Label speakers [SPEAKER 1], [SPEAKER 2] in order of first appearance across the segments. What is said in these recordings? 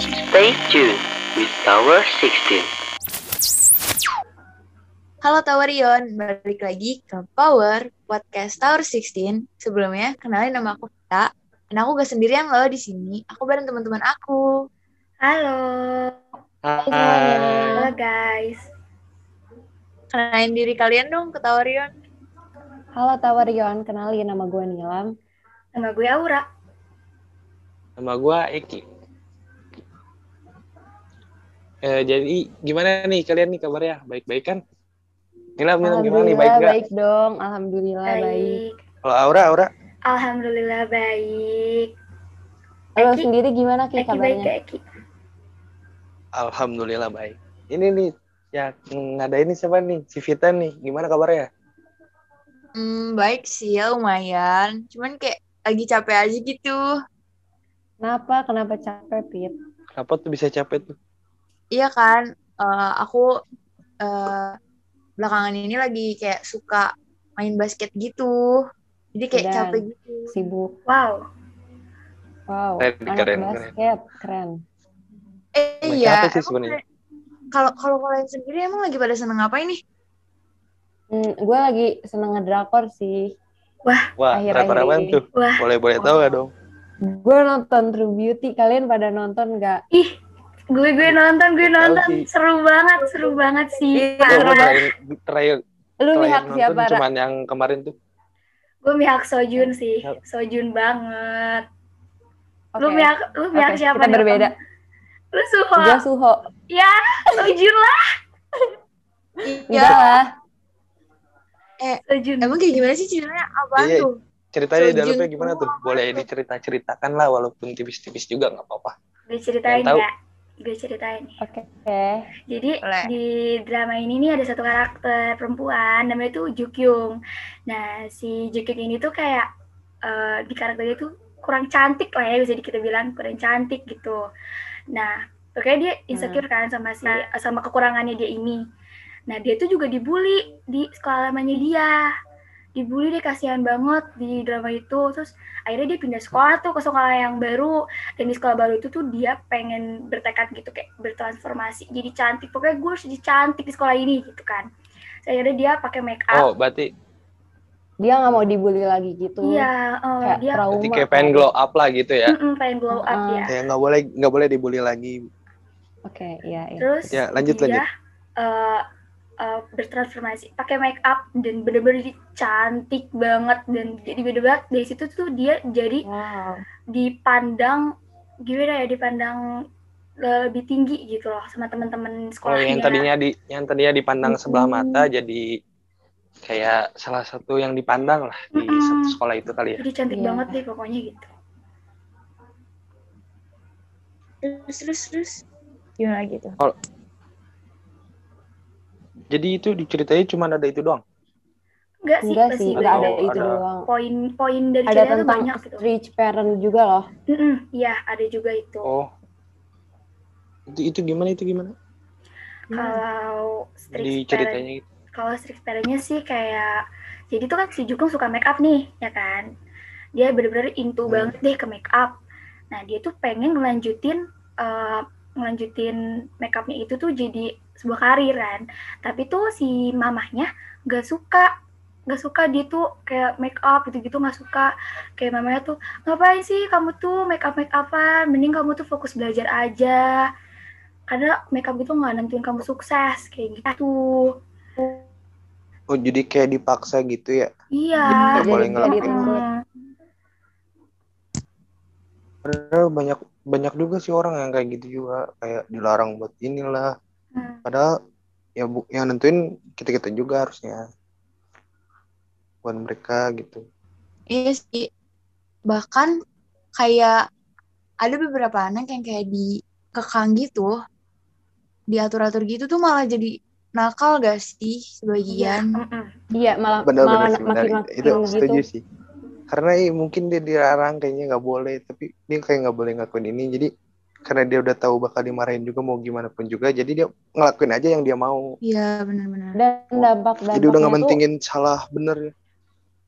[SPEAKER 1] Stay tuned with Tower 16.
[SPEAKER 2] Halo Towerion, balik lagi ke Power Podcast Tower 16. Sebelumnya, kenalin nama aku Vita. Dan aku gak sendirian loh di sini. Aku bareng teman-teman aku.
[SPEAKER 3] Halo. Halo guys.
[SPEAKER 2] Kenalin diri kalian dong ke Towerion.
[SPEAKER 4] Halo Tawarion, kenalin nama gue Nilam.
[SPEAKER 3] Nama gue Aura.
[SPEAKER 5] Nama gue Eki. Eh, jadi gimana nih kalian nih kabarnya? Baik-baik kan? Nilam, Nilam gimana nih? Baik gak?
[SPEAKER 4] baik dong. Alhamdulillah Ah, baik.
[SPEAKER 5] Kalau Aura, Aura.
[SPEAKER 3] Alhamdulillah baik.
[SPEAKER 4] Lo
[SPEAKER 3] Eki.
[SPEAKER 4] sendiri gimana Ki
[SPEAKER 3] Eki baik
[SPEAKER 4] kabarnya?
[SPEAKER 3] gak Eki?
[SPEAKER 5] Alhamdulillah baik. Ini nih, yang ada ini siapa nih? Si Vita nih. Gimana kabarnya?
[SPEAKER 2] Hmm, baik sih ya, lumayan. Cuman kayak lagi capek aja gitu.
[SPEAKER 4] Kenapa? Kenapa capek, Pit?
[SPEAKER 5] Kenapa tuh bisa capek tuh?
[SPEAKER 2] Iya kan, eh, aku eh, belakangan ini lagi kayak suka main basket gitu. Jadi kayak
[SPEAKER 4] Dan-
[SPEAKER 2] capek gitu.
[SPEAKER 4] Sibuk.
[SPEAKER 3] Wow.
[SPEAKER 4] Wow,
[SPEAKER 5] Keren,
[SPEAKER 4] anak
[SPEAKER 5] Eh, keren,
[SPEAKER 4] basket. Keren.
[SPEAKER 2] Eh
[SPEAKER 5] Main
[SPEAKER 2] iya,
[SPEAKER 5] capek sih
[SPEAKER 2] emang
[SPEAKER 5] sebenarnya.
[SPEAKER 2] kalian- kalau kalau kalian sendiri emang lagi pada seneng ngapain nih?
[SPEAKER 4] Hmm, gue lagi seneng ngedrakor sih.
[SPEAKER 5] Wah,
[SPEAKER 4] Akhir-akhir
[SPEAKER 5] berapa-berapaan
[SPEAKER 4] ini.
[SPEAKER 5] tuh?
[SPEAKER 3] Wah.
[SPEAKER 5] Boleh-boleh tahu gak dong?
[SPEAKER 4] Gue nonton True Beauty. Kalian pada nonton nggak?
[SPEAKER 3] Ih, gue gue nonton, gue
[SPEAKER 5] Tahu
[SPEAKER 3] nonton.
[SPEAKER 5] sih.
[SPEAKER 3] Seru banget, seru banget sih.
[SPEAKER 4] Iya,
[SPEAKER 5] Gua- gua
[SPEAKER 3] Parah.
[SPEAKER 5] terakhir, terakhir,
[SPEAKER 4] Lu
[SPEAKER 5] terakhir
[SPEAKER 4] lihat siapa?
[SPEAKER 5] nonton
[SPEAKER 4] Ra?
[SPEAKER 5] cuman yang kemarin tuh.
[SPEAKER 3] Gue mihak Sojun sih. Sojun banget. Lu
[SPEAKER 4] Oke.
[SPEAKER 3] mihak lu
[SPEAKER 4] Oke,
[SPEAKER 3] mihak siapa
[SPEAKER 4] kita
[SPEAKER 3] nih?
[SPEAKER 4] berbeda.
[SPEAKER 3] Lu Suho.
[SPEAKER 4] Gue Suho.
[SPEAKER 3] Ya, Sojun lah, Ya.
[SPEAKER 4] Enggak
[SPEAKER 2] Iya,
[SPEAKER 4] lah.
[SPEAKER 3] Sojun.
[SPEAKER 2] emang kayak gimana sih ceritanya? Apaan
[SPEAKER 5] Iya,
[SPEAKER 2] tuh?
[SPEAKER 5] Ceritanya
[SPEAKER 2] Sojun
[SPEAKER 5] dalamnya gimana
[SPEAKER 2] tuh
[SPEAKER 5] tuh? Boleh dicerita-ceritakan lah walaupun tipis-tipis juga nggak apa-apa.
[SPEAKER 3] Gue ceritain
[SPEAKER 5] Yang tahu.
[SPEAKER 3] ya. Gue ceritain.
[SPEAKER 4] Oke.
[SPEAKER 3] Jadi
[SPEAKER 2] Boleh.
[SPEAKER 3] di drama ini nih ada satu karakter perempuan namanya tuh Jukyung. Nah, si Jukyung ini tuh kayak eh, di karakternya tuh kurang cantik lah ya bisa di- kita bilang kurang cantik gitu. Nah, pokoknya dia insecure kan sama si sama kekurangannya dia ini. Nah, dia tuh juga dibully di sekolah lamanya dia. Dibully dia kasihan banget di drama itu. Terus akhirnya dia pindah sekolah tuh ke sekolah yang baru dan di sekolah baru itu tuh dia pengen bertekad gitu kayak bertransformasi jadi cantik pokoknya gue harus jadi cantik di sekolah ini gitu kan Terus akhirnya dia pakai make up
[SPEAKER 4] Ah.
[SPEAKER 5] Oh, berarti
[SPEAKER 4] Dia nggak mau dibully lagi gitu.
[SPEAKER 3] iya eh,
[SPEAKER 4] Kayak
[SPEAKER 3] dia
[SPEAKER 4] trauma.
[SPEAKER 5] berarti kayak pengen glow up lah gitu ya.
[SPEAKER 3] mm-mm, pengen glow up
[SPEAKER 4] Ah.
[SPEAKER 3] ya
[SPEAKER 5] Ya nggak boleh nggak boleh dibully lagi.
[SPEAKER 4] Oke, iya, iya.
[SPEAKER 3] terus
[SPEAKER 5] Ya, lanjut,
[SPEAKER 3] dia
[SPEAKER 5] lanjut.
[SPEAKER 3] eh, eh, bertransformasi pakai make up dan bener-bener jadi cantik banget dan jadi beda banget dari situ tuh dia jadi
[SPEAKER 4] Wow.
[SPEAKER 3] dipandang gimana ya dipandang eh, lebih tinggi gitu loh sama teman-teman
[SPEAKER 5] Oh,
[SPEAKER 3] sekolahnya
[SPEAKER 5] yang tadinya di yang tadinya dipandang
[SPEAKER 3] Mm-mm.
[SPEAKER 5] sebelah mata jadi kayak salah satu yang dipandang lah di
[SPEAKER 3] Mm-mm.
[SPEAKER 5] satu sekolah itu kali ya.
[SPEAKER 3] jadi cantik
[SPEAKER 4] Iya.
[SPEAKER 3] banget deh pokoknya gitu
[SPEAKER 2] Terus terus terus. Gimana gitu?
[SPEAKER 5] Jadi itu diceritanya cuma ada itu doang.
[SPEAKER 3] Enggak sih,
[SPEAKER 4] Enggak
[SPEAKER 3] pasti gitu
[SPEAKER 4] sih,
[SPEAKER 3] banyak
[SPEAKER 4] nggak ada
[SPEAKER 5] Oh,
[SPEAKER 4] itu
[SPEAKER 5] ada.
[SPEAKER 4] doang.
[SPEAKER 3] poin-poin dari
[SPEAKER 4] Ada
[SPEAKER 3] ceritanya tuh
[SPEAKER 4] tentang
[SPEAKER 3] banyak gitu.
[SPEAKER 4] rich parent juga loh.
[SPEAKER 3] Mm-mm, Iya, ada juga itu.
[SPEAKER 5] Oh. Itu itu gimana itu gimana?
[SPEAKER 3] Kalau
[SPEAKER 5] Di
[SPEAKER 3] strict parent,
[SPEAKER 5] ceritanya gitu. itu.
[SPEAKER 3] kalau strict parentnya sih kayak jadi tuh kan si Jukung suka make up nih, ya kan? Dia bener-bener into
[SPEAKER 5] Hmm.
[SPEAKER 3] banget deh ke make up. Nah, dia tuh pengen ngelanjutin eh, ngelanjutin make upnya itu tuh jadi sebuah karir kan. Tapi tuh si mamahnya gak suka gak suka dia tuh kayak make up gitu-gitu gak suka kayak mamanya tuh ngapain sih kamu tuh make up make upan mending kamu tuh fokus belajar aja karena make up itu nggak nentuin kamu sukses kayak gitu
[SPEAKER 5] Oh, jadi kayak dipaksa gitu ya.
[SPEAKER 3] iya
[SPEAKER 5] Nggak boleh ngelakuin.
[SPEAKER 3] Mm-mm.
[SPEAKER 5] Padahal banyak banyak juga sih orang yang kayak gitu juga, kayak dilarang buat inilah.
[SPEAKER 3] Mm.
[SPEAKER 5] Padahal ya bu, yang nentuin kita-kita juga harusnya. Bukan mereka gitu.
[SPEAKER 2] Iya sih. Bahkan kayak ada beberapa anak yang kayak dikekang gitu, diatur-atur gitu tuh malah jadi nakal gak sih
[SPEAKER 3] iya
[SPEAKER 2] sebagian?
[SPEAKER 3] mm-mm.
[SPEAKER 4] Iya, malah malah
[SPEAKER 5] benar-benar sih, benar.
[SPEAKER 4] makin makin
[SPEAKER 5] itu
[SPEAKER 4] gitu.
[SPEAKER 5] setuju sih karena eh, mungkin dia dilarang kayaknya nggak boleh tapi dia kayak nggak boleh ngakuin ini jadi karena dia udah tahu bakal dimarahin juga mau gimana pun juga jadi dia ngelakuin aja yang dia mau
[SPEAKER 2] Iya benar-benar.
[SPEAKER 4] Dan dampak
[SPEAKER 5] jadi udah nggak ya?
[SPEAKER 4] dampak
[SPEAKER 5] mentingin salah bener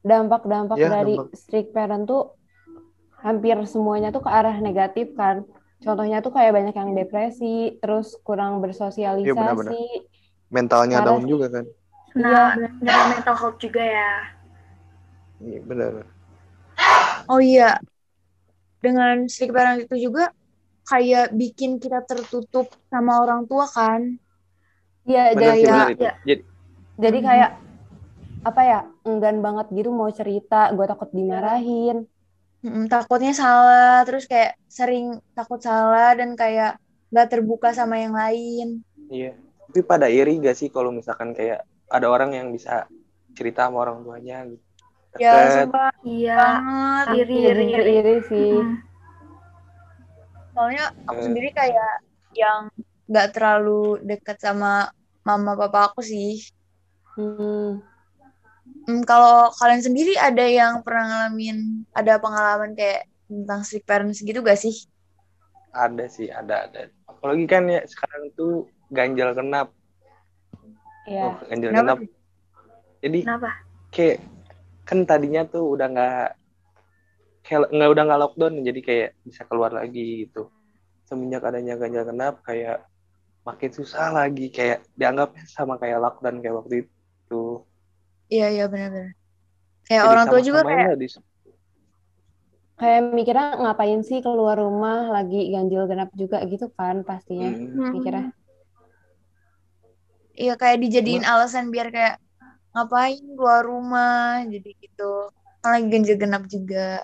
[SPEAKER 4] dampak dampak
[SPEAKER 5] Ya,
[SPEAKER 4] dari
[SPEAKER 5] dampak.
[SPEAKER 4] strict parent tuh hampir semuanya tuh ke arah negatif kan. Contohnya tuh kayak banyak yang depresi, terus kurang bersosialisasi.
[SPEAKER 5] Iya, benar-benar. mentalnya
[SPEAKER 4] Parah
[SPEAKER 5] down
[SPEAKER 4] sih.
[SPEAKER 5] juga kan
[SPEAKER 3] Nah, dari mental health juga ya.
[SPEAKER 5] iya benar
[SPEAKER 2] Oh iya, dengan sedikit barang itu juga kayak bikin kita tertutup sama orang tua kan.
[SPEAKER 5] benar
[SPEAKER 4] Iya, jadi
[SPEAKER 5] sih
[SPEAKER 2] Daya-
[SPEAKER 5] benar itu
[SPEAKER 3] ya.
[SPEAKER 5] jadi
[SPEAKER 4] jadi
[SPEAKER 2] Mhm.
[SPEAKER 4] kayak apa ya? Enggan banget gitu mau cerita, gue takut dimarahin.
[SPEAKER 2] Mm-mm, takutnya salah, terus kayak sering takut salah dan kayak nggak terbuka sama yang lain.
[SPEAKER 5] iya tapi pada iri gak sih kalau misalkan kayak ada orang yang bisa cerita sama orang tuanya gitu
[SPEAKER 2] Ya,
[SPEAKER 5] eh, Deket.
[SPEAKER 2] sumpah
[SPEAKER 3] Iya.
[SPEAKER 2] banget.
[SPEAKER 3] Iri,
[SPEAKER 4] Iya,
[SPEAKER 3] iri,
[SPEAKER 4] bener,
[SPEAKER 3] iri.
[SPEAKER 4] iri sih.
[SPEAKER 3] Mm.
[SPEAKER 2] Soalnya aku
[SPEAKER 5] Eh.
[SPEAKER 2] sendiri kayak yang nggak terlalu dekat sama mama papa aku sih.
[SPEAKER 4] Hmm.
[SPEAKER 2] Hmm, kalau kalian sendiri ada yang pernah ngalamin, ada pengalaman kayak tentang strict parents gitu gak sih?
[SPEAKER 5] ada sih ada ada apalagi kan ya sekarang tuh ganjal genap
[SPEAKER 4] Iya.
[SPEAKER 5] Oh, ganjil
[SPEAKER 2] Ya. Kenapa Nah.
[SPEAKER 5] genap jadi
[SPEAKER 3] Kenapa?
[SPEAKER 5] kayak kan tadinya tuh udah nggak kayak nggak udah nggak lockdown jadi kayak bisa keluar lagi gitu semenjak adanya ganjil genap kayak makin susah lagi kayak dianggapnya sama kayak lockdown kayak waktu itu
[SPEAKER 2] Iya, iya benar-benar. Kayak
[SPEAKER 5] Jadi
[SPEAKER 2] Ya, orang tua juga
[SPEAKER 5] sama-sama
[SPEAKER 2] kayak
[SPEAKER 5] nggak dis-
[SPEAKER 4] Kayak mikirnya ngapain sih keluar rumah lagi ganjil genap juga gitu kan pastinya.
[SPEAKER 5] Hmm.
[SPEAKER 4] Mikirnya.
[SPEAKER 2] iya kayak dijadiin alasan biar kayak ngapain keluar rumah jadi gitu. Kan lagi ganjil genap juga.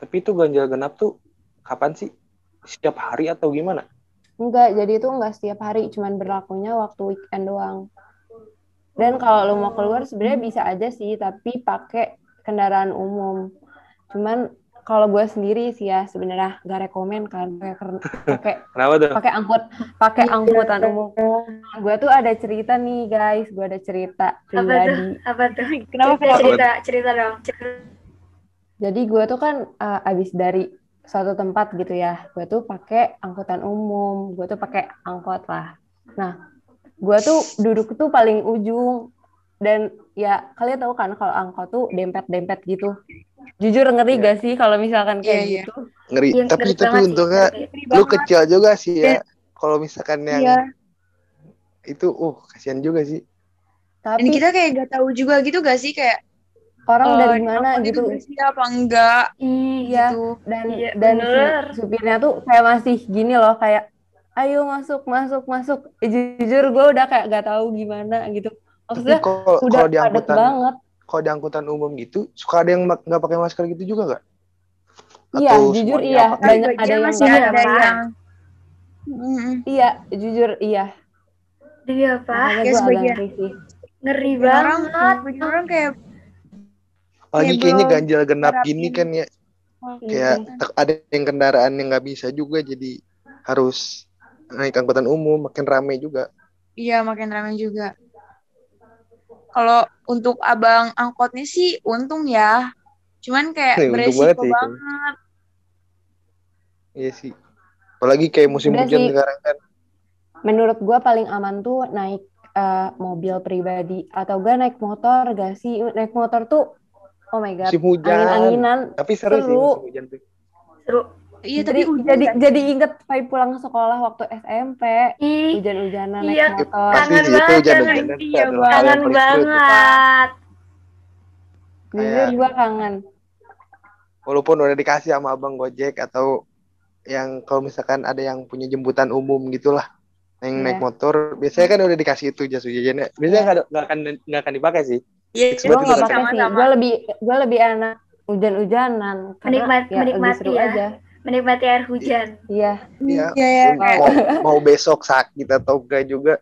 [SPEAKER 5] tapi itu ganjil genap tuh kapan sih setiap hari atau gimana
[SPEAKER 4] Enggak, jadi itu enggak setiap hari, cuman berlakunya waktu weekend doang. Dan kalau lu mau keluar sebenarnya bisa aja sih, tapi pakai kendaraan umum. Cuman kalau gue sendiri sih ya sebenarnya gak rekomen kan pakai ker- pakai
[SPEAKER 5] kenapa tuh
[SPEAKER 4] pakai angkut pakai
[SPEAKER 3] Iya,
[SPEAKER 4] angkutan umum. Gue tuh ada cerita nih guys, gue ada cerita
[SPEAKER 3] tuh?
[SPEAKER 4] pribadi.
[SPEAKER 3] Apa tuh? Cerita,
[SPEAKER 4] Kenapa, kenapa?
[SPEAKER 3] cerita, cerita dong. Cerita.
[SPEAKER 4] Jadi gue tuh kan eh, abis dari suatu tempat gitu ya, gue tuh pakai angkutan umum, gue tuh pakai angkot lah. Nah, gue tuh duduk tuh paling ujung dan ya kalian tahu kan kalau angkot tuh dempet-dempet gitu. Jujur ngeri
[SPEAKER 5] Iya.
[SPEAKER 4] gak sih kalau misalkan kayak
[SPEAKER 2] Iya, iya.
[SPEAKER 4] gitu?
[SPEAKER 5] ngeri
[SPEAKER 3] Yang
[SPEAKER 5] tapi
[SPEAKER 3] ngeri
[SPEAKER 5] tapi
[SPEAKER 3] banget sih,
[SPEAKER 5] untungnya
[SPEAKER 4] Iya.
[SPEAKER 3] ngeri.
[SPEAKER 5] lu kecil juga sih ya kalau misalkan yang
[SPEAKER 2] Iya.
[SPEAKER 5] itu uh kasihan juga sih
[SPEAKER 4] Tapi
[SPEAKER 2] Dan kita kayak gak tahu juga gitu gak sih kayak
[SPEAKER 4] orang
[SPEAKER 2] eh,
[SPEAKER 4] dari
[SPEAKER 2] ini
[SPEAKER 4] mana
[SPEAKER 2] angkot
[SPEAKER 4] Oh, gitu
[SPEAKER 2] itu bersih apa enggak
[SPEAKER 4] Iya.
[SPEAKER 2] gitu.
[SPEAKER 4] dan
[SPEAKER 3] Iya,
[SPEAKER 4] dan si
[SPEAKER 3] bener.
[SPEAKER 4] supirnya tuh kayak masih gini loh kayak ayo masuk masuk masuk. Eh, Jujur gue udah kayak gak tahu gimana gitu.
[SPEAKER 5] tapi
[SPEAKER 4] Maksudnya
[SPEAKER 5] kalau
[SPEAKER 4] udah
[SPEAKER 5] kalau di
[SPEAKER 4] padat
[SPEAKER 5] angkutan
[SPEAKER 4] banget.
[SPEAKER 5] kalau di angkutan umum gitu suka ada yang ma- nggak pakai masker gitu juga nggak?
[SPEAKER 4] Iya,
[SPEAKER 5] Atau
[SPEAKER 4] jujur
[SPEAKER 5] semuanya
[SPEAKER 4] iya.
[SPEAKER 5] pakai?
[SPEAKER 2] Tapi
[SPEAKER 4] Banyak ada
[SPEAKER 2] bagian
[SPEAKER 4] yang
[SPEAKER 2] masih
[SPEAKER 4] nggak
[SPEAKER 2] ada
[SPEAKER 3] pakai.
[SPEAKER 2] yang Mm-mm.
[SPEAKER 4] Iya, jujur iya.
[SPEAKER 3] Iya, Pak.
[SPEAKER 4] Makanya
[SPEAKER 2] ya
[SPEAKER 4] gue agak
[SPEAKER 2] sebagian.
[SPEAKER 4] ngeri sih.
[SPEAKER 3] Ngeri
[SPEAKER 2] orang
[SPEAKER 3] banget.
[SPEAKER 2] banyak orang kayak Kayak
[SPEAKER 5] Lagi kayaknya
[SPEAKER 2] belum
[SPEAKER 5] ganjil genap
[SPEAKER 2] nerapin.
[SPEAKER 5] gini kan ya
[SPEAKER 4] Iya.
[SPEAKER 5] kayak te- ada yang kendaraan yang nggak bisa juga jadi harus naik angkutan umum makin rame juga.
[SPEAKER 2] Iya, makin ramai juga. Kalau untuk abang angkotnya sih untung ya. Cuman kayak
[SPEAKER 5] Nih,
[SPEAKER 2] beresiko
[SPEAKER 5] untung banget ya itu.
[SPEAKER 2] banget.
[SPEAKER 5] Iya sih. Apalagi kayak musim
[SPEAKER 4] Udah
[SPEAKER 5] hujan
[SPEAKER 4] sih.
[SPEAKER 5] sekarang kan.
[SPEAKER 4] Menurut gue paling aman tuh naik eh, mobil pribadi atau gue naik motor gak sih? Naik motor tuh oh my god,
[SPEAKER 5] Musim hujan.
[SPEAKER 4] angin-anginan.
[SPEAKER 5] Tapi seru, sih
[SPEAKER 4] Seru.
[SPEAKER 5] musim hujan tuh.
[SPEAKER 3] Seru.
[SPEAKER 2] Iya, tapi
[SPEAKER 4] jadi jadi jadi inget Fai pulang sekolah waktu SMP,
[SPEAKER 3] Ih,
[SPEAKER 4] hujan-hujanan
[SPEAKER 3] Iya.
[SPEAKER 4] naik motor.
[SPEAKER 5] Pasti
[SPEAKER 3] Kangen
[SPEAKER 5] sih itu
[SPEAKER 3] banget,
[SPEAKER 5] hujan
[SPEAKER 3] kangen.
[SPEAKER 5] hujan
[SPEAKER 2] Iya,
[SPEAKER 3] kangen banget.
[SPEAKER 4] Jujur gue kangen.
[SPEAKER 5] Walaupun udah dikasih sama abang Gojek atau yang kalau misalkan ada yang punya jemputan umum gitulah yang
[SPEAKER 4] Iya.
[SPEAKER 5] naik motor biasanya kan udah dikasih itu jas hujannya biasanya
[SPEAKER 4] Iya.
[SPEAKER 5] nggak nggak akan nggak akan dipakai sih
[SPEAKER 2] Iya,
[SPEAKER 5] Buat
[SPEAKER 4] Gue nggak
[SPEAKER 5] kita
[SPEAKER 4] pakai sih.
[SPEAKER 2] sama-sama.
[SPEAKER 4] Gue lebih gue lebih enak hujan-hujanan. Karena
[SPEAKER 3] Menikmat-
[SPEAKER 4] ya, lebih
[SPEAKER 3] menikmati
[SPEAKER 4] seru
[SPEAKER 3] ya.
[SPEAKER 4] aja.
[SPEAKER 3] Menikmati air hujan.
[SPEAKER 4] Iya.
[SPEAKER 5] Iya.
[SPEAKER 2] Iya, ya, kayak
[SPEAKER 5] mau, mau besok sakit atau enggak juga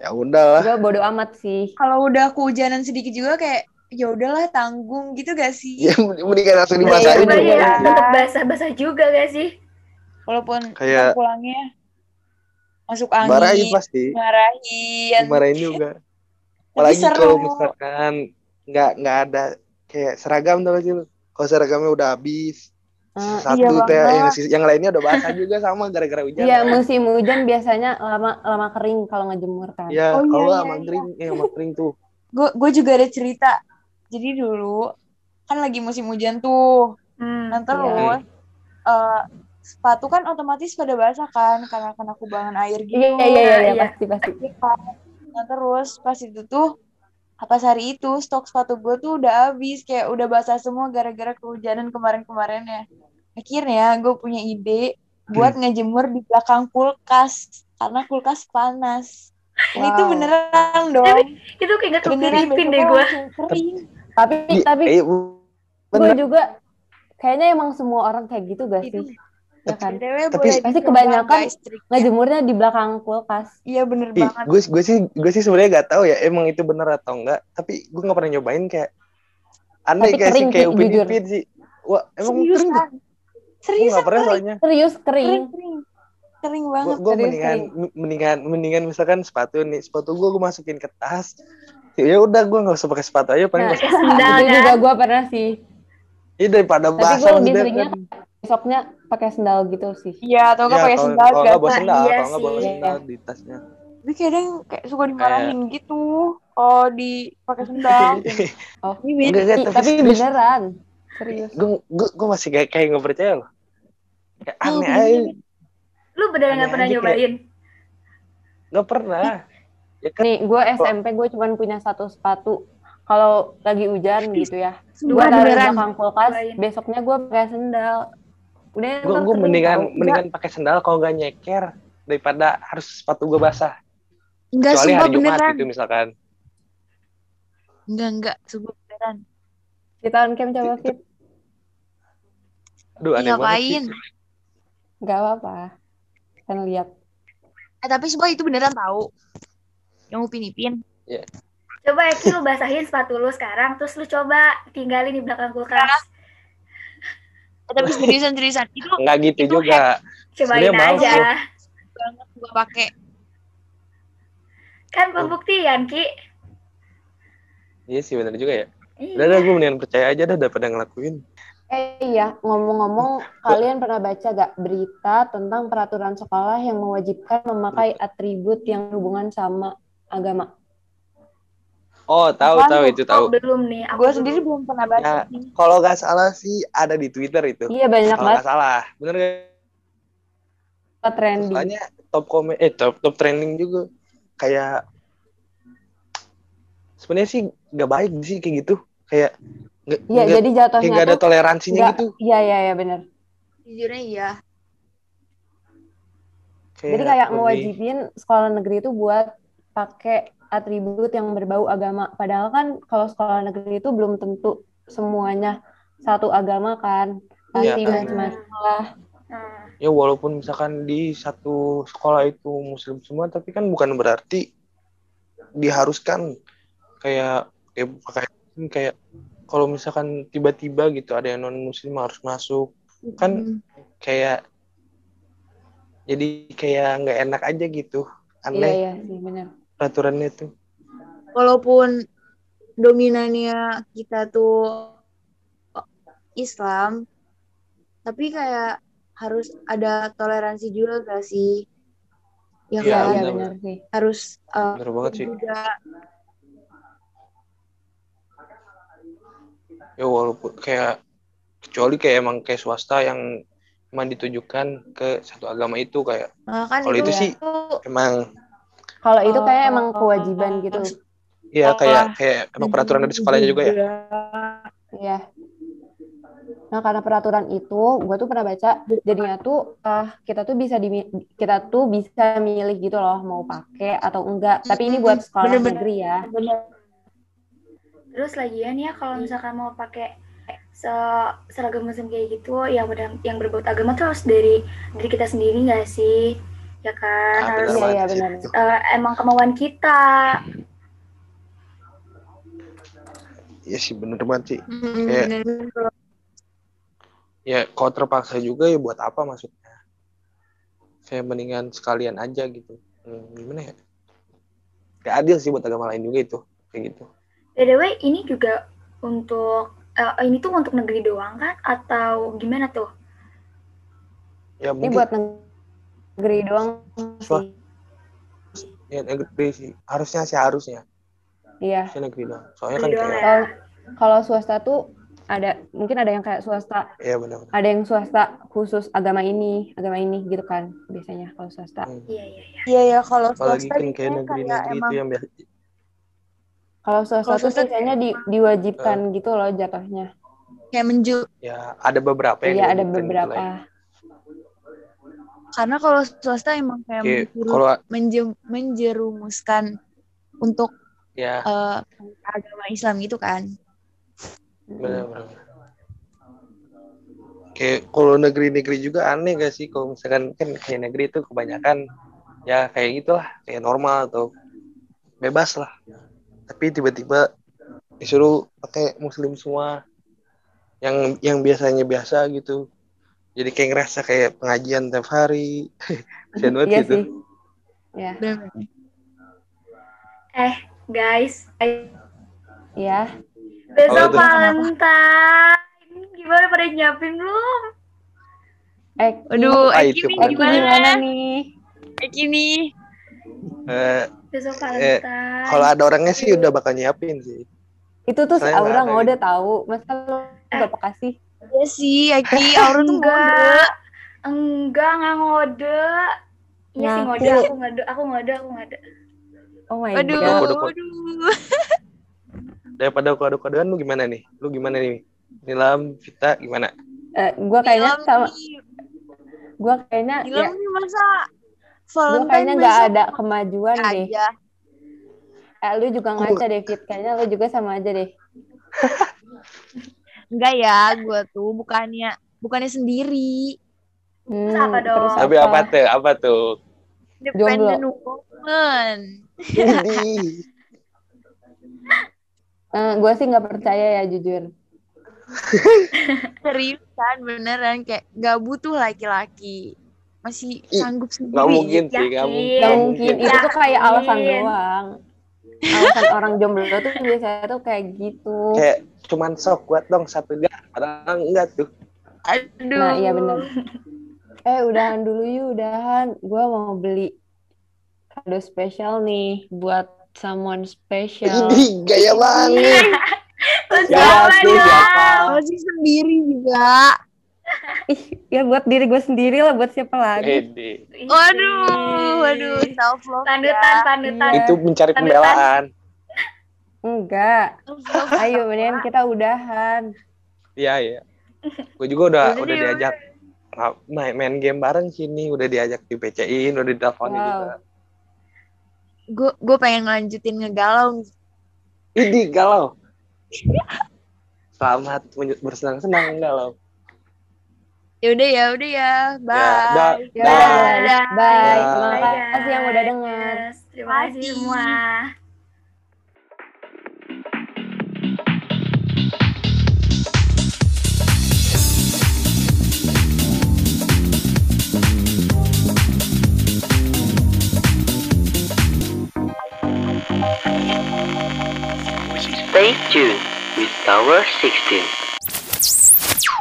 [SPEAKER 5] ya udahlah
[SPEAKER 4] Gue bodo amat sih.
[SPEAKER 2] kalau udah kehujanan sedikit juga kayak ya udahlah tanggung gitu gak sih?
[SPEAKER 5] ya mendingan langsung
[SPEAKER 4] Iya,
[SPEAKER 5] dimasakin
[SPEAKER 4] iya,
[SPEAKER 3] Coba
[SPEAKER 5] juga
[SPEAKER 4] iya.
[SPEAKER 3] ya,
[SPEAKER 5] sih.
[SPEAKER 3] tetap basah-basah juga gak sih?
[SPEAKER 2] Walaupun
[SPEAKER 5] Kayak-
[SPEAKER 2] ntar pulangnya masuk angin,
[SPEAKER 5] marahin pasti
[SPEAKER 2] marahin.
[SPEAKER 5] marahin juga
[SPEAKER 2] Tapi
[SPEAKER 5] apalagi
[SPEAKER 2] seru.
[SPEAKER 5] kalau misalkan nggak nggak ada kayak seragam tuh sih lu. kalau seragamnya udah habis
[SPEAKER 4] Eh,
[SPEAKER 5] sisa
[SPEAKER 2] iya
[SPEAKER 5] satu teh
[SPEAKER 2] banget.
[SPEAKER 5] yang, sis- yang lainnya udah basah juga sama gara-gara hujan
[SPEAKER 4] Iya, musim hujan biasanya lama lama kering kalau ngejemur kan.
[SPEAKER 5] Ya,
[SPEAKER 2] Oh, iya,
[SPEAKER 5] kalau
[SPEAKER 2] iya,
[SPEAKER 5] sama
[SPEAKER 2] iya.
[SPEAKER 5] kering, eh sama kering tuh.
[SPEAKER 2] Gue gue juga ada cerita. Jadi dulu kan lagi musim hujan tuh.
[SPEAKER 3] Hmm.
[SPEAKER 2] Nah
[SPEAKER 4] Iya.
[SPEAKER 2] terus eh, sepatu kan otomatis pada basah kan karena kena kubangan air gitu.
[SPEAKER 4] Iya, iya, iya, iya,
[SPEAKER 3] Iya.
[SPEAKER 4] pasti, pasti.
[SPEAKER 2] Iya kan? Nah terus pas itu tuh ah, pas hari itu stok sepatu gue tuh udah habis kayak udah basah semua gara-gara kehujanan kemarin-kemarin ya. Akhirnya gue punya ide
[SPEAKER 5] Hmm.
[SPEAKER 2] buat ngejemur di belakang kulkas karena kulkas panas. Ini tuh
[SPEAKER 4] Wow.
[SPEAKER 2] beneran dong.
[SPEAKER 3] Itu kayak gak
[SPEAKER 2] Beneran
[SPEAKER 3] kepikirin deh
[SPEAKER 2] besoknya
[SPEAKER 3] gue.
[SPEAKER 2] langsung kering.
[SPEAKER 4] Tapi,
[SPEAKER 5] Iya,
[SPEAKER 4] tapi
[SPEAKER 5] iya,
[SPEAKER 4] gue
[SPEAKER 5] bener.
[SPEAKER 4] juga kayaknya emang semua orang kayak gitu gak
[SPEAKER 3] Iya,
[SPEAKER 2] Itu.
[SPEAKER 4] sih? Ya kan?
[SPEAKER 2] BTW
[SPEAKER 5] Tapi-
[SPEAKER 2] boleh
[SPEAKER 4] Pasti
[SPEAKER 2] dicoba,
[SPEAKER 4] kebanyakan
[SPEAKER 2] guys, triknya.
[SPEAKER 4] Ngejemurnya di belakang kulkas.
[SPEAKER 2] Iya bener
[SPEAKER 5] Ih,
[SPEAKER 2] banget.
[SPEAKER 5] gue gue sih gue sih sebenarnya nggak tahu ya emang itu bener atau enggak tapi gue nggak pernah nyobain kayak aneh
[SPEAKER 4] Tapi
[SPEAKER 5] kayak sih
[SPEAKER 4] kering,
[SPEAKER 5] kayak
[SPEAKER 4] Ki,
[SPEAKER 5] upin
[SPEAKER 4] jujur.
[SPEAKER 5] ipin sih wah emang kering tuh
[SPEAKER 2] Seriusan.
[SPEAKER 5] gue
[SPEAKER 2] Seriusan
[SPEAKER 5] nggak pernah
[SPEAKER 2] kering.
[SPEAKER 5] soalnya
[SPEAKER 4] Serius
[SPEAKER 2] Kering,
[SPEAKER 4] kering.
[SPEAKER 2] kering. Kering
[SPEAKER 5] gue
[SPEAKER 2] banget.
[SPEAKER 5] gue
[SPEAKER 4] serius,
[SPEAKER 5] mendingan mendingan mendingan misalkan sepatu nih sepatu gue gue masukin ke tas ya udah gue nggak usah pakai sepatu aja paling
[SPEAKER 4] Nah.
[SPEAKER 5] masuk
[SPEAKER 3] Pakai sendal
[SPEAKER 4] Itu juga
[SPEAKER 3] kan.
[SPEAKER 4] gue pernah sih.
[SPEAKER 5] ini daripada
[SPEAKER 4] Tapi gue
[SPEAKER 5] basah
[SPEAKER 4] lebih
[SPEAKER 5] udah
[SPEAKER 4] seringnya
[SPEAKER 5] kan
[SPEAKER 4] besoknya pakai sendal gitu sih.
[SPEAKER 2] Iya, atau nggak
[SPEAKER 5] ya
[SPEAKER 2] pakai
[SPEAKER 5] kalau
[SPEAKER 2] sendal
[SPEAKER 5] kalau
[SPEAKER 2] guys.
[SPEAKER 5] nggak bawa
[SPEAKER 3] Nah,
[SPEAKER 5] sendal
[SPEAKER 3] iya
[SPEAKER 5] kalau nggak bawa
[SPEAKER 3] sih.
[SPEAKER 5] sendal di tasnya
[SPEAKER 2] Tapi kadang kayak suka dimarahin gitu. Oh, di pakai sendal. gitu. Iya,
[SPEAKER 4] Oh.
[SPEAKER 2] Bibit.
[SPEAKER 5] enggak enggak
[SPEAKER 4] Ih,
[SPEAKER 5] tapi
[SPEAKER 4] tapi
[SPEAKER 5] serius
[SPEAKER 4] beneran. Serius.
[SPEAKER 5] gue gue gue masih kayak kayak nggak percaya loh kayak
[SPEAKER 2] Hmm,
[SPEAKER 5] aneh aja
[SPEAKER 3] Lu beneran
[SPEAKER 5] Aneh
[SPEAKER 3] gak pernah
[SPEAKER 5] aja kayak-
[SPEAKER 3] nyobain?
[SPEAKER 5] nggak pernah ya kan
[SPEAKER 4] Nih, gue SMP gue cuman punya satu sepatu. Kalau lagi hujan gitu ya. Gue
[SPEAKER 3] Dua
[SPEAKER 4] taruh di
[SPEAKER 3] beneran. iya.
[SPEAKER 4] belakang kulkas,
[SPEAKER 3] Duain.
[SPEAKER 4] besoknya gue pakai sendal. Udah
[SPEAKER 5] gue
[SPEAKER 4] ntar
[SPEAKER 5] gue
[SPEAKER 4] kering,
[SPEAKER 5] mendingan
[SPEAKER 4] tau.
[SPEAKER 5] mendingan pakai sendal kalau nggak nyeker daripada harus sepatu gue basah
[SPEAKER 2] Enggak,
[SPEAKER 5] kecuali
[SPEAKER 2] sumpah
[SPEAKER 5] hari Jumat
[SPEAKER 2] beneran.
[SPEAKER 5] gitu misalkan
[SPEAKER 2] Enggak, enggak, sumpah beneran.
[SPEAKER 4] Kita on cam coba fit.
[SPEAKER 5] aduh aneh banget sih.
[SPEAKER 2] Ngapain?
[SPEAKER 4] Gak apa-apa. Kan lihat.
[SPEAKER 2] Eh, tapi sumpah itu beneran tahu. Yang Upin Ipin.
[SPEAKER 3] Coba Eki lu basahin sepatu lu sekarang, terus lu coba tinggalin di belakang kulkas.
[SPEAKER 2] Eh, tapi seriusan-seriusan. Itu
[SPEAKER 5] nggak gitu
[SPEAKER 2] Itu
[SPEAKER 5] juga
[SPEAKER 3] Cobain
[SPEAKER 5] Sebenarnya mau
[SPEAKER 3] aja.
[SPEAKER 5] tuh.
[SPEAKER 2] banget gua pakai.
[SPEAKER 3] Kan pembuktian, Ki.
[SPEAKER 5] iya sih benar juga ya udah
[SPEAKER 3] Iya.
[SPEAKER 5] udah gue mendingan percaya aja dah daripada ngelakuin
[SPEAKER 4] Eh iya, ngomong-ngomong, kalian pernah baca gak berita tentang peraturan sekolah yang mewajibkan memakai atribut yang berhubungan sama agama?
[SPEAKER 5] oh tahu
[SPEAKER 2] Apaan
[SPEAKER 5] tahu
[SPEAKER 2] tuh?
[SPEAKER 5] itu
[SPEAKER 3] Oh,
[SPEAKER 5] tahu
[SPEAKER 3] belum nih. aku
[SPEAKER 2] Gue
[SPEAKER 3] belum.
[SPEAKER 2] sendiri belum pernah baca.
[SPEAKER 5] Ya. kalau nggak salah sih ada di Twitter itu
[SPEAKER 4] Iya
[SPEAKER 5] kalau
[SPEAKER 4] banyak banget
[SPEAKER 5] nggak salah bener nggak
[SPEAKER 4] trending.
[SPEAKER 5] soalnya top komen eh top top trending juga kayak sebenarnya sih nggak baik sih kayak gitu kayak nggak
[SPEAKER 4] Iya,
[SPEAKER 5] nggak-
[SPEAKER 4] jadi
[SPEAKER 5] kayak
[SPEAKER 4] jatuhnya
[SPEAKER 5] nggak ada
[SPEAKER 4] tuh
[SPEAKER 5] toleransinya
[SPEAKER 4] nggak-
[SPEAKER 5] gitu
[SPEAKER 4] Iya iya iya benar.
[SPEAKER 2] Jujurnya iya.
[SPEAKER 4] Jadi kayak
[SPEAKER 5] lebih-
[SPEAKER 4] mewajibin sekolah negeri itu buat pakai atribut yang berbau agama. Padahal kan kalau sekolah negeri itu belum tentu semuanya satu agama kan. Pasti
[SPEAKER 5] Iya.
[SPEAKER 4] macam-macam.
[SPEAKER 3] Hmm.
[SPEAKER 5] ya walaupun misalkan di satu sekolah itu muslim semua tapi kan bukan berarti diharuskan kayak ya, kayak pakai kayak kalau misalkan tiba-tiba gitu ada yang non muslim harus masuk
[SPEAKER 2] Mm.
[SPEAKER 5] Kan- kayak jadi kayak nggak enak aja gitu
[SPEAKER 4] Iya
[SPEAKER 5] aneh
[SPEAKER 4] iya sih benar.
[SPEAKER 5] peraturannya tuh
[SPEAKER 2] walaupun dominannya kita tuh Islam, tapi kayak harus ada toleransi juga gak sih? Ya kan?
[SPEAKER 5] Iya,
[SPEAKER 4] Iya
[SPEAKER 5] benar.
[SPEAKER 4] benar sih.
[SPEAKER 2] Harus uh,
[SPEAKER 5] bener banget sih
[SPEAKER 2] juga
[SPEAKER 5] ya walaupun kayak kecuali kayak emang kayak swasta yang emang ditujukan ke satu agama itu kayak
[SPEAKER 2] Nah, kan
[SPEAKER 5] Kalau itu sih-
[SPEAKER 2] tuh
[SPEAKER 5] emang
[SPEAKER 4] Kalau itu kayak emang kewajiban gitu.
[SPEAKER 5] ya
[SPEAKER 2] Sekolah.
[SPEAKER 5] kayak kayak emang peraturan dari sekolahnya juga ya
[SPEAKER 4] Iya. Nah, karena peraturan itu, gue tuh pernah baca jadinya tuh eh, kita tuh bisa di kita tuh bisa milih gitu loh mau pakai atau enggak. Tapi ini buat sekolah
[SPEAKER 2] Bener-bener.
[SPEAKER 4] negeri ya.
[SPEAKER 2] Bener.
[SPEAKER 3] Terus lagian ya kalau misalkan mau pakai se seragam muslim kayak gitu yang ber- yang berbau agama tuh harus dari dari kita sendiri nggak sih? Ya kan
[SPEAKER 5] Ah,
[SPEAKER 3] harus
[SPEAKER 5] benar
[SPEAKER 4] Iya, iya,
[SPEAKER 5] banget sih
[SPEAKER 4] benar.
[SPEAKER 5] itu.
[SPEAKER 3] eh, emang kemauan kita.
[SPEAKER 5] Iya sih bener banget sih.
[SPEAKER 2] Mm,
[SPEAKER 5] Iya.
[SPEAKER 2] bener.
[SPEAKER 5] Ya kalau terpaksa juga ya buat apa maksudnya? Kayak mendingan sekalian aja gitu. Hmm, gimana ya? Gak adil sih buat agama lain juga itu kayak gitu.
[SPEAKER 3] By the way, ini juga untuk eh, ini tuh untuk negeri doang kan atau gimana tuh?
[SPEAKER 5] Ya
[SPEAKER 4] Ini
[SPEAKER 5] mungkin
[SPEAKER 4] buat negeri doang sih.
[SPEAKER 5] ya, negeri sih harusnya sih harusnya
[SPEAKER 4] Iya.
[SPEAKER 5] harusnya negeri doang. Soalnya kan
[SPEAKER 3] Negeri doang
[SPEAKER 5] kayak
[SPEAKER 3] ya.
[SPEAKER 4] Kalau kalau swasta tuh ada mungkin ada yang kayak swasta
[SPEAKER 5] Iya benar.
[SPEAKER 4] ada yang swasta khusus agama ini agama ini gitu kan biasanya kalau swasta
[SPEAKER 3] Iya, iya, iya.
[SPEAKER 2] Iya ya kalau
[SPEAKER 5] Hmm. Apalagi
[SPEAKER 2] swasta
[SPEAKER 5] kan kayak
[SPEAKER 2] kayaknya
[SPEAKER 5] negeri-negeri ya. itu
[SPEAKER 2] emang
[SPEAKER 5] yang biasa
[SPEAKER 4] kalau swasta
[SPEAKER 2] Kalau
[SPEAKER 4] tuh
[SPEAKER 2] swasta
[SPEAKER 4] biasanya di-
[SPEAKER 5] Eh,
[SPEAKER 4] diwajibkan gitu loh jatuhnya
[SPEAKER 2] kayak menju
[SPEAKER 5] ya ada beberapa yang
[SPEAKER 4] iya ada
[SPEAKER 5] dilanjutkan gitu lah ya.
[SPEAKER 4] beberapa
[SPEAKER 2] karena kalau swasta emang kayak
[SPEAKER 5] Kayak
[SPEAKER 2] menjuru-
[SPEAKER 5] Iya, kalau
[SPEAKER 2] menje- menjerumuskan untuk
[SPEAKER 5] ya
[SPEAKER 2] eh, agama Islam gitu kan.
[SPEAKER 5] benar
[SPEAKER 4] Hmm.
[SPEAKER 5] benar. Kayak kalau negeri-negeri juga aneh gak sih kalau misalkan kan kayak negeri itu kebanyakan ya kayak gitulah kayak normal atau bebas lah. Tapi tiba-tiba disuruh pakai muslim semua yang yang biasanya biasa gitu. Jadi kayak ngerasa kayak pengajian tiap hari. Kasian banget
[SPEAKER 4] iya
[SPEAKER 5] gitu.
[SPEAKER 4] sih ya
[SPEAKER 2] Bener-bener.
[SPEAKER 3] Eh, guys, eh,
[SPEAKER 4] iya
[SPEAKER 5] Apa
[SPEAKER 3] besok
[SPEAKER 5] tuh?
[SPEAKER 3] Valentine. Gimana pada nyiapin belum?
[SPEAKER 4] eh
[SPEAKER 2] Aduh,
[SPEAKER 5] Ah,
[SPEAKER 2] Eki
[SPEAKER 5] itu
[SPEAKER 2] nih
[SPEAKER 4] Eki
[SPEAKER 5] gimana?
[SPEAKER 4] gimana nih
[SPEAKER 2] Eki nih.
[SPEAKER 5] Eh,
[SPEAKER 3] Besok Valentine.
[SPEAKER 5] kalau ada orangnya sih udah bakal nyiapin sih.
[SPEAKER 4] itu tuh si
[SPEAKER 5] Saya nggak
[SPEAKER 4] Aura
[SPEAKER 5] ada
[SPEAKER 4] nggak
[SPEAKER 5] gitu.
[SPEAKER 4] udah tahu masa lo
[SPEAKER 2] Eh.
[SPEAKER 4] nggak kasih
[SPEAKER 2] Iya sih, Eki Aurun
[SPEAKER 3] enggak. Enggak, enggak ngode. Iya sih
[SPEAKER 4] Ngaku.
[SPEAKER 3] ngode, aku ngode, aku ngode, aku ngode.
[SPEAKER 4] oh my
[SPEAKER 2] Aduh,
[SPEAKER 4] god
[SPEAKER 5] Kodok, kodok.
[SPEAKER 2] aduh.
[SPEAKER 5] Daripada kode-kodean lu gimana nih? Lu gimana nih? Nilam, Vita gimana?
[SPEAKER 4] Eh, gua kayaknya
[SPEAKER 2] Ilham
[SPEAKER 4] sama
[SPEAKER 2] nih,
[SPEAKER 4] gua kayaknya
[SPEAKER 2] Ilham
[SPEAKER 4] ya,
[SPEAKER 2] nih masa
[SPEAKER 4] gua
[SPEAKER 2] Valentine
[SPEAKER 4] kayaknya nggak
[SPEAKER 2] besok Iya.
[SPEAKER 4] ada kemajuan deh
[SPEAKER 2] aja.
[SPEAKER 4] eh, lu juga
[SPEAKER 5] Aku-
[SPEAKER 4] ngaca deh Fit kayaknya lu juga sama aja deh
[SPEAKER 2] Enggak ya, gue tuh bukannya bukannya sendiri.
[SPEAKER 4] Hmm,
[SPEAKER 3] Terus apa dong?
[SPEAKER 5] Tapi apa tuh? Apa tuh?
[SPEAKER 2] Independent woman.
[SPEAKER 5] Widih.
[SPEAKER 4] Eh, gua sih nggak percaya ya jujur
[SPEAKER 2] Seriusan kan, beneran kayak nggak butuh laki-laki. Masih
[SPEAKER 5] Ih,
[SPEAKER 2] sanggup sendiri.
[SPEAKER 5] Nggak mungkin sih,
[SPEAKER 3] Yakin.
[SPEAKER 5] nggak mungkin.
[SPEAKER 4] Gak
[SPEAKER 5] Nggak
[SPEAKER 4] mungkin. Itu tuh kayak alasan doang. Alasan orang jomblo tuh biasanya tuh kayak gitu.
[SPEAKER 5] Kayak cuman sok kuat dong satu dia. Padahal enggak tuh.
[SPEAKER 2] Aduh.
[SPEAKER 4] Nah, iya bener. Eh, udahan dulu yuk, udahan. Gua mau beli kado spesial nih buat someone special.
[SPEAKER 5] Widih, gaya banget.
[SPEAKER 3] Let's
[SPEAKER 5] Ya,
[SPEAKER 3] go,
[SPEAKER 5] tuh siapa?
[SPEAKER 2] Ah, Masih sendiri juga.
[SPEAKER 4] Ih, ya buat diri gue sendiri lah, buat siapa lagi.
[SPEAKER 5] Widih.
[SPEAKER 2] Waduh, waduh, ya. self love.
[SPEAKER 3] Panutan, panutan.
[SPEAKER 4] Iya.
[SPEAKER 5] Itu mencari
[SPEAKER 3] Lanjutan.
[SPEAKER 5] pembelaan.
[SPEAKER 4] Enggak.
[SPEAKER 2] Self-love.
[SPEAKER 4] Ayo, mendingan kita udahan.
[SPEAKER 5] Iya, iya. Gue juga udah
[SPEAKER 2] Udah
[SPEAKER 5] udah
[SPEAKER 2] deh,
[SPEAKER 5] diajak nah, main, main game bareng sini, udah diajak di PC-in, udah diteleponin
[SPEAKER 4] Wow.
[SPEAKER 5] juga.
[SPEAKER 2] Gue gue pengen ngelanjutin ngegalau. nih.
[SPEAKER 5] Widih, galau. Selamat menyu- bersenang-senang galau.
[SPEAKER 2] Yaudah ya, udah ya. Bye.
[SPEAKER 5] Ya, dah.
[SPEAKER 4] Ya,
[SPEAKER 5] Dah.
[SPEAKER 4] udah.
[SPEAKER 3] Bye.
[SPEAKER 4] Bye.
[SPEAKER 5] Bye,
[SPEAKER 4] Makasih yang udah dengar.
[SPEAKER 3] Yes, Terima kasih
[SPEAKER 2] Makasih.
[SPEAKER 3] semua.
[SPEAKER 1] Stay tuned with Tower 16.